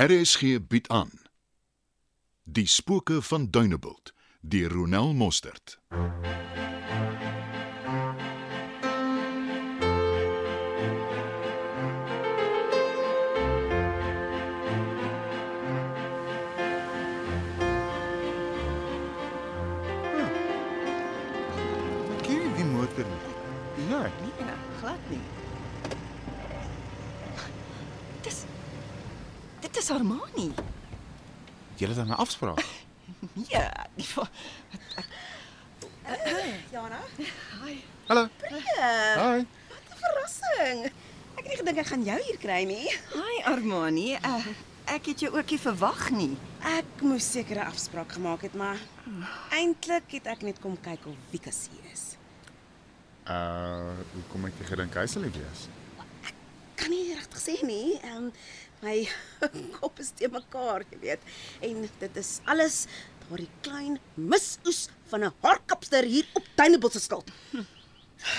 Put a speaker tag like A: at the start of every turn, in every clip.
A: RSG bied aan Die spooke van Duneveld deur Ronel Mostert.
B: Ja. Ek ken nie die motor nie. Ja,
C: Nee, glad nie. Dis Dit is Armani.
B: jy het dan 'n afspraak.
C: Nee, die va-
D: Jana,
B: Hallo. Hi.
D: verrassing. Ek het nie gedink ek gaan jou hier kry nie.
C: Hi Armani. Uh, ek het jou ook nie verwag nie.
D: Ek moes sekere afspraak gemaak het, maar eintlik het ek net kom kyk of Wikus hier is.
B: Uh, hoe kom ek te gedink hy sal dit wees?
D: Kan nie regtig sê nie. Ehm my kop is te mekaar, jy weet. En dit is alles daardie klein misoes van 'n harkapster hier op Tuinebos se skuld.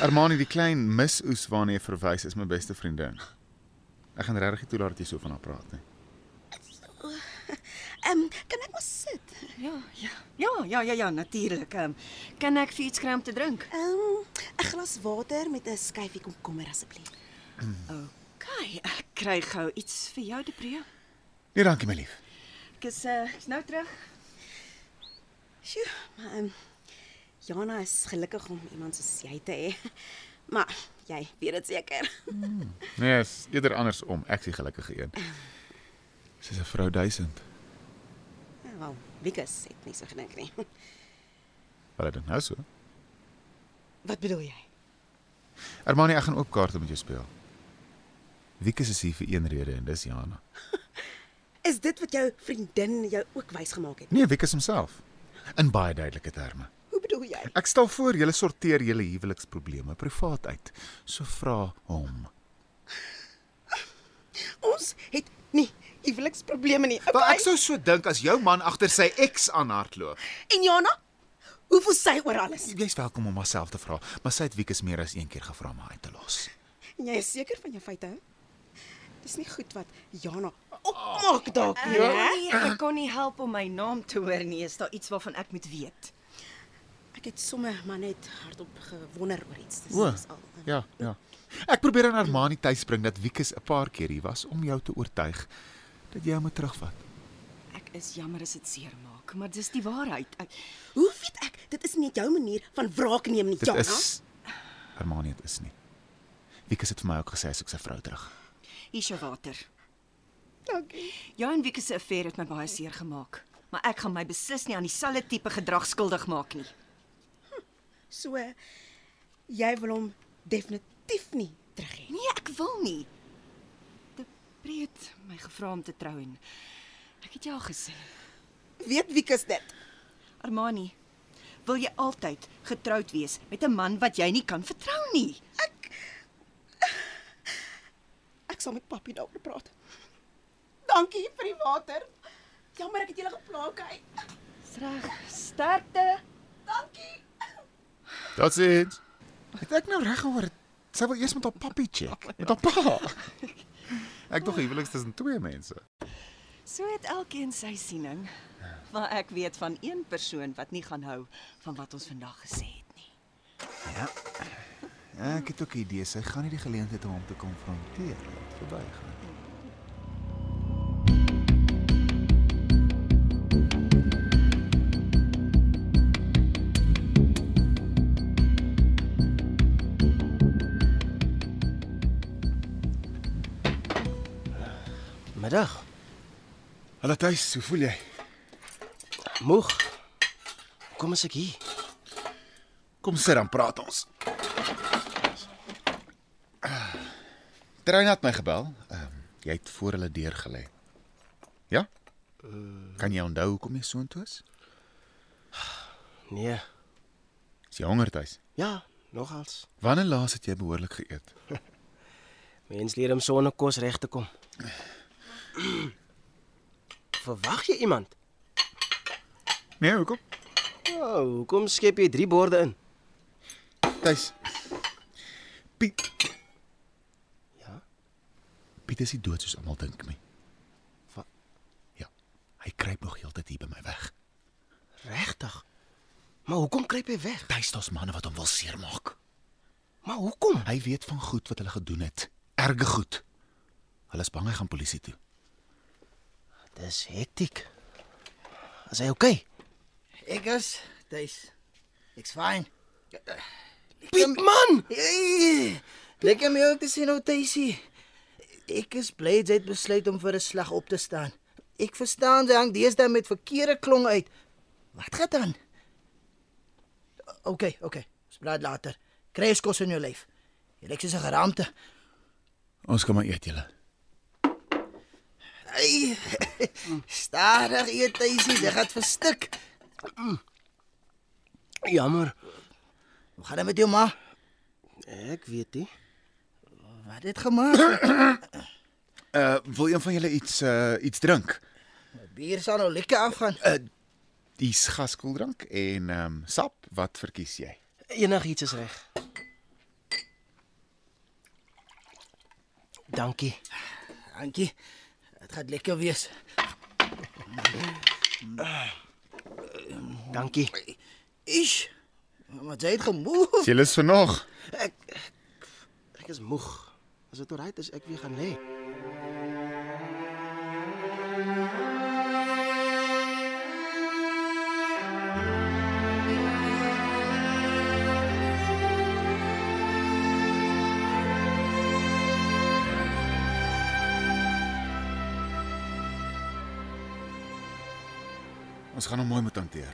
B: Armani, die klein misoes waarna jy verwys, is my beste vriendin. Ek gaan regtig nie toelaat dat jy so van haar praat nie.
D: Ehm kan ek maar sit?
C: Ja, ja. Ja, ja, ja, ja, natuurlik. Um, kan ek vir iets kry om te drink?
D: Ehm 'n glas water met 'n skyfie komkommer asseblief.
C: OK, ek kry gou iets vir jou, Depree.
B: Nee, dankie my lief.
C: Ek is uh, ek's nou terug.
D: Sjoe, maar um, Jana is gelukkig om iemand soos jy te hê. Maar jy weet dit seker.
B: Nee, is eerder andersom. Ek is die gelukkige een. Sy's 'n vrou 1000.
D: Ja, Wel, Wikus het nie so gedink nie.
B: Wat het dit nou so?
D: Wat bedoel jy?
B: Armani, ek gaan ook kaarte met jou speel. Wiekus is hier vir een rede en dis Jana.
D: Is dit wat jou vriendin jou ook wys gemaak het?
B: Nee, Wiekus homself. In baie duidelike terme.
D: Hoe bedoel jy?
B: Ek stel voor julle sorteer julle huweliksprobleme privaat uit. So vra hom.
D: Ons het nie huweliksprobleme nie. Okay.
B: Maar ek sou so dink as jou man agter sy ex aanhardloop.
D: En Jana? Hoeveel sy oor alles?
B: Jy's welkom om myself te vra, maar sy het Wiekus meer as een keer gevra om haar uit te los.
D: En jy is seker van jou feite? Dis nie goed wat Jana opmaak dalk nie, hè?
C: Nee, ek kon nie help om my naam te hoor nie. Is daar iets waarvan ek moet weet?
D: Ek het sommer maar net hardop gewonder oor iets. Dis
B: O,
D: dis al.
B: Ja, ja. Ek probeer aan Armani tuis bring dat Wiekus 'n paar keer hier was om jou te oortuig dat jy hom moet terugvat.
C: Ek is jammer as dit seer maak, maar dis die waarheid. Eh, Ek,
D: Hoe weet ek? Dit is nie jou manier van wraak neem nie,
B: Dit
D: Jana.
B: is Armani dit is nie. Wiekus het vir my ook gesê hy soek sy vrou terug.
C: Hier is jou water.
D: Dankie.
C: Jou en Wieke se affære het my baie seer gemaak, maar ek gaan my beslis nie aan dieselfde tipe gedrag skuldig maak nie.
D: So jy wil hom definitief nie terug hê.
C: Nee, ek wil nie. Dit breed my gevra om te trou en ek het ja gesê.
D: Weet wie is dit?
C: Armani, wil jy altyd getroud wees met 'n man wat jy nie kan vertrou nie?
D: Ek sal met papie daaroor praat. Dankie vir die water. Jammer ek het julle geplaag. hy.
C: Reg, sterkte.
D: Dankie.
B: That's it. Het ek nou reg gehoor? Sy wil eers met haar pappie check, met haar pa. Ek dog huweliks tussen twee mense.
C: So het elkeen sy siening, maar ek weet van een persoon wat nie gaan hou van wat ons vandag gesê het nie.
B: Ek het ook 'n idee sy gaan nie die geleentheid om hom te konfronteer laat verbygaan.
E: Middag.
B: Hallo tuis, hoe voel jy?
E: Moeg. Kom as ek hier.
B: Kom sit dan praat ons. Trein het my gebel. Ehm um, jy het voor hulle deur gelê. Ja? Kan jy onthou hoekom jy soontoe is?
E: Nee.
B: Is jy honger tuis?
E: Ja, nogals.
B: Wanneer laas het jy behoorlik geëet?
E: Mens leer om sonder kos reg te kom. Verwag jy iemand?
B: Nee, hoekom?
E: Ja, hoekom skep jy drie borde in?
B: Tuis. Piet.
E: Ja?
B: Ja? Piet is nie dood soos almal dink nie.
E: Wa
B: Ja.
E: Maar hoekom kruip hy weg?
B: Duis daar's manne wat hom wil seermaak.
E: Maar hoekom?
B: Hy weet van goed wat hulle gedoen het. Erge goed. Hulle is bang hy gaan polisie toe.
E: Dis hektiek. Is hy okay?
F: Ek is tuis. Ek's fyn.
E: Piet man,
F: Hey, Lekker om jou te sien, ou Tuisie. Ek is bly jy het besluit om vir 'n slag op te staan. Ek verstaan jy hang deesdae met verkeerde klong uit. Wat gaan dan? OK, OK. Ons praat later. Kry eens kos in jou lyf. Jy lyk soos 'n geraamte.
B: Ons kom maar eet julle.
F: Ai. Stadig eet Tuisie, dit gaan verstik.
E: jammer.
F: Hoe gaan dit met jou ma?
E: Ek weet nie.
F: Wat het gemaak?
B: Uh wil een van julle iets uh iets drink?
F: Bier sal nou lekker afgaan.
E: Eh,
B: Dis gaskoeldrank en ehm um, sap, wat verkies jy?
E: Enigiets is reg. Dankie.
F: Dankie. Dit gaan lekker wees.
E: Dankie.
F: Ish. Maar jy het gemoeg.
B: Julle is vernog.
E: Ek is moeg. As dit oukei is, ek weer gaan lê.
B: Ons gaan hom mooi moet hanteer.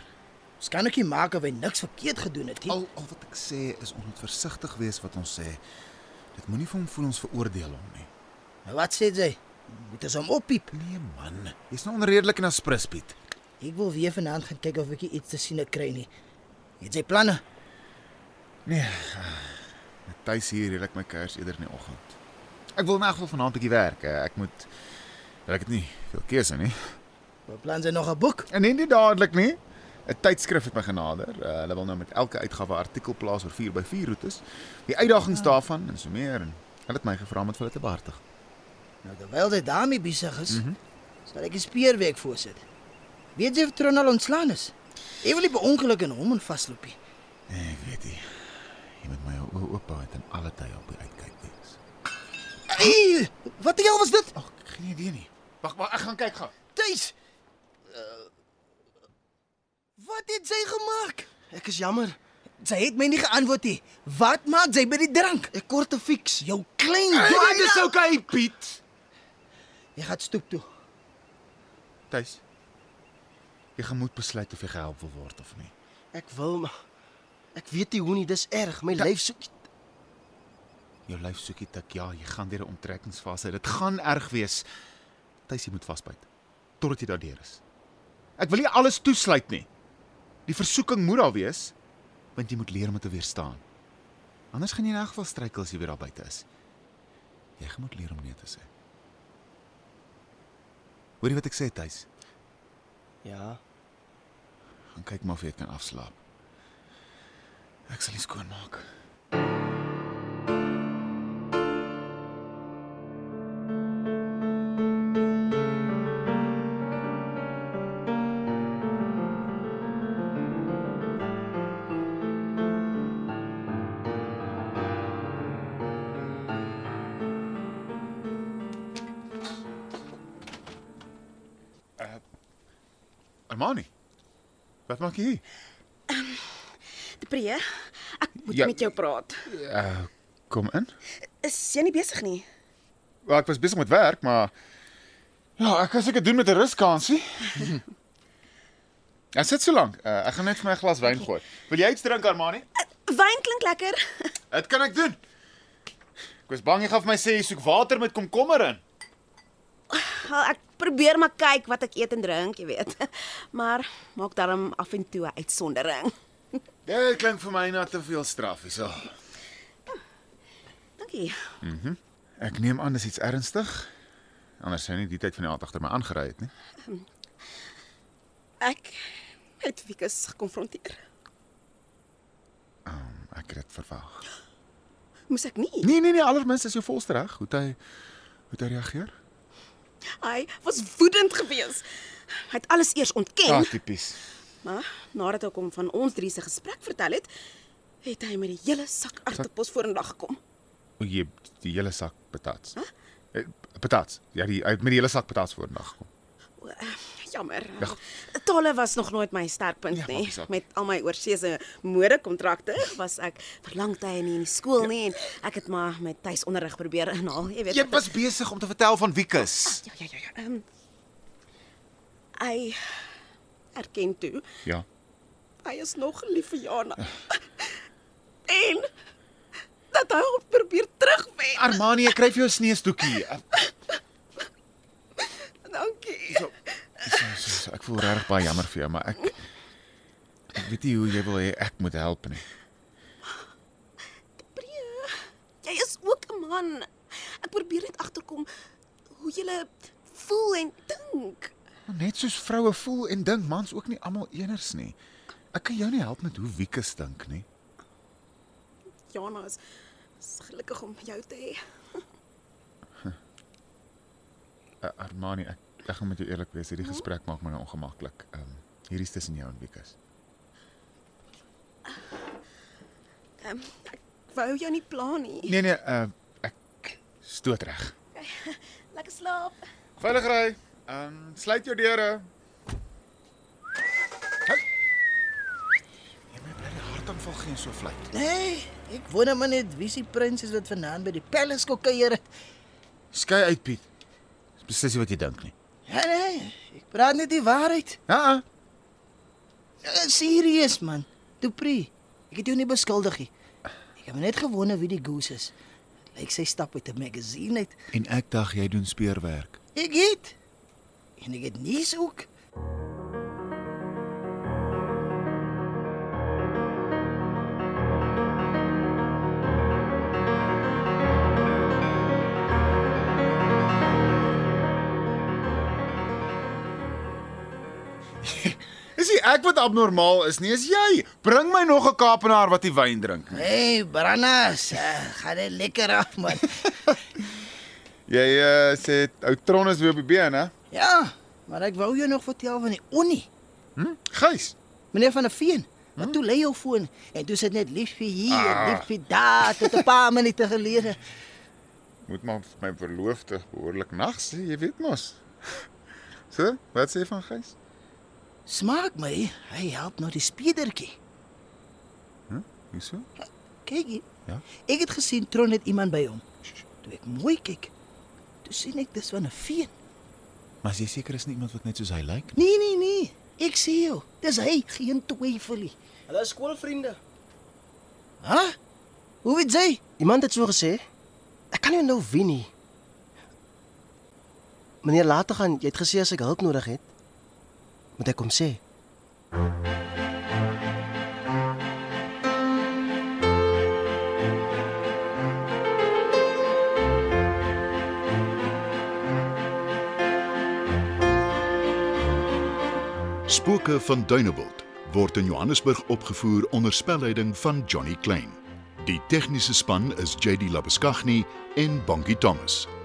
F: Ons kan ook nie maak of hy niks verkeerd gedoen het nie.
B: Al al wat ek sê is ons moet versigtig wees wat ons sê. Dit moenie vir hom voel ons veroordeel hom nie.
F: Nou wat sê jy? Moet ons hom oppiep?
B: Nee man, jy's nou onredelik en aspres Piet.
F: Ek wil weer vanaand gaan kyk of ek iets te sien ek kry nie. Het jy planne?
B: Tuis hier redelik my kers eerder in die oggend. Ek wil nog wel vanaand 'n bietjie werk. eh, Ek moet ek het nie veel keuse nie.
F: Beplan jy nog 'n boek?
B: En nie, nie dadelik nie. 'n Tydskrif het my genader. Uh, hulle wil nou met elke uitgawe 'n artikel plaas oor 4x4 roetes, die uitdagings daarvan en so meer en hulle het my gevra om dit vir hulle te behartig.
F: Nou terwyl jy daarmee besig is, mm
E: Mhm.
F: -hmm. sal ek die speerwerk voorsit. Weet jy of Tronal ontslaan is? Ek wil nie beongeluk in hom en vasloop nie.
B: Nee, ek weet nie. Jy moet my oë oop hou en alle tye op die uitkyk wees.
F: Ai! Wat die hel was dit?
B: Ag, ek het geen idee nie. Wag, maar ek gaan kyk gou.
F: Tuis. Uh, Eh, wat het jy gemaak?
E: Ek is jammer.
F: Sy het my nie geantwoord nie. Wat maak jy by die drank?
E: Ek kort 'n fiks. ja,
F: Jou klein
E: Dit
F: dwaas.
E: is okay, Piet.
F: Jy gaan stoep toe.
B: Tuis. Jy gaan moet besluit of jy gehelp wil word of nie.
E: Ek wil maar ek weet nie hoe nie, dis erg. My lyf soek
B: Jou lyf soekie tik. Ja, jy gaan deur 'n onttrekkingsfase. Dit gaan erg wees. Tuis, jy moet vasbyt totdat jy daardeur is. Ek wil nie alles toesluit nie. Die versoeking moet daar wees, want jy moet leer om dit te weerstaan. Anders gaan jy in elk geval struikel as jy weer daar buite is. Jy gaan moet leer om nee te sê. Hoor jy wat ek sê, Tuis?
E: Ja,
B: Gaan kyk maar of jy dit kan afslaap. Ek sal dit skoonmaak. Eh, Armani. Wat maak jy hier?
D: Depree, ek moet
B: Ja.
D: ja. met jou praat.
B: Uh, kom in.
D: Is jy nie besig nie?
B: Wel, ek was besig met werk, maar ja, ek kan seker doen met 'n ruskansie. Ja, sit so lank. Uh, ek gaan net vir my 'n glas wyn gooi. Wil jy iets drink, Armani?
D: Eh, Wyn klink lekker.
B: Dit kan ek doen. Ek was bang jy gaan vir my sê jy soek water met komkommer in.
D: Wel, Ek probeer maar kyk wat ek eet en drink, jy weet. Maar maak darm af en toe 'n uitsondering.
B: Dit klink vir my na te veel straf hierso.
D: Dankie.
B: Ek neem aan dis iets ernstig. Anders sou jy nie die tyd van die aand agter my aangery het nie.
D: Ek het Wikus gekonfronteer.
B: Ek het dit verwag.
D: Moes ek nie.
B: Nee, nee, nee, alermins is jou volste reg. Hoe het hy hoe het hy reageer? Nee. Ah, Ja.
D: Hy was woedend geweest. Hy het alles eers ontken.
B: tipies.
D: Maar nadat ek hom van ons drie se gesprek vertel het, het hy met die hele sak aartappels vorendag gekom.
B: O, jy het die hele sak patats. Huh? Patats. Ja, die hy het met die hele sak patats voornag gekom.
D: O, eh, Jammer.
B: Ja.
D: Tale was nog nooit my sterkpunt
B: Ja,
D: nie.
B: maak nie saak.
D: Met al my oorseese modekontrakte was ek vir lang tye nie in die
B: Ja.
D: skool nie en ek het maar my tuisonderrig probeer inhaal, jy weet.
B: Jy was besig om te vertel van Wiekus.
D: Ja, ja, ja. ja, Ehm hy erken toe
B: Ja.
D: Hy is nog lief vir Jana. en dat hy hom probeer terugwen.
B: Armani, ek kry vir jou 'n sneesdoekie. Eh,
D: Dankie.
B: so, so, so, Ek voel regtig baie jammer vir jou, maar ek ek weet nie hoe jy wil hê ek moet help nie.
D: Bree, jy is ook 'n man. Ek probeer net agterkom hoe jy voel en dink.
B: Maar net soos vroue voel en dink, mans ook nie almal eners nie. Ek kan jou nie help met hoe Wiekus dink nie.
D: Jana is, is gelukkig om jou te hê.
B: Uh, Armani, ek ek gaan met jou eerlik wees, hierdie gesprek maak my nou ongemaklik. Ehm um, hierdie's tussen jou en Wiekus.
D: Um, ek wou jou nie pla nie.
B: Nee nee, uh, ek stoot reg.
D: Lekker slaap.
B: Veilig ry. Ehm um, sluit jou deure. Hey. Jy moet bly hartaanval geen so vlei.
F: Nee, ek wonder maar net wie se prinses wat vanaand by die palace kom kuier het.
B: Skei uit Piet. Dis presies nie wat jy dink nie.
F: Ja nee, ek praat net die waarheid.
B: Ja.
F: Eh, Serieus man. Dupri, ek het jou nie beskuldig nie. Ek het maar net gewonder wie die goose is. Lyk sy stap uit 'n magazine uit.
B: En ek dink jy doen speurwerk.
F: Ek het en ek het nuus ook.
B: Is nie ek wat abnormaal is nie, is jy. Bring my nog 'n Kaapenaar wat die wyn drink.
F: Hey, Brannas, eh, gaan dit lekker af man.
B: Jy uh, sê ou Tron is weer op die been, hè?
F: ja, maar ek wou jou nog vertel van die Onnie,
B: Hm? Gys.
F: meneer van der Veen. Maar toe lê jou foon en toe sit net lief vir hier,
B: Ah.
F: ah. lief vir daar tot 'n paar minute gelede.
B: Moet maar vir my verloofde behoorlik nag sê, jy weet mos. So, wat sê van Gys?
F: Smaak my, hy help nou die spiedertjie.
B: Hoeso?
F: Kyk hier.
B: Ja?
F: Ek het gesien Tron het iemand by hom. Toe ek mooi kyk, toe sien ek dis van 'n veen.
B: Maar as jy seker is nie iemand wat net soos hy lyk nie.
F: Nee, nee, nee. Ek sê jou, dis hy, geen twyfel nie.
E: Hulle is skoolvriende.
F: Hæ? Huh? Hoe weet jy?
E: Iemand het so gesê. Ek kan nie nou wie nie. Meneer later gaan, jy het gesê as ek hulp nodig het, moet ek kom sê.
A: Spooke van Duneveld word in Johannesburg opgevoer onder spelleiding van Johnny Klein. Die tegniese span is JD Labuskaghni en Bongie Thomas.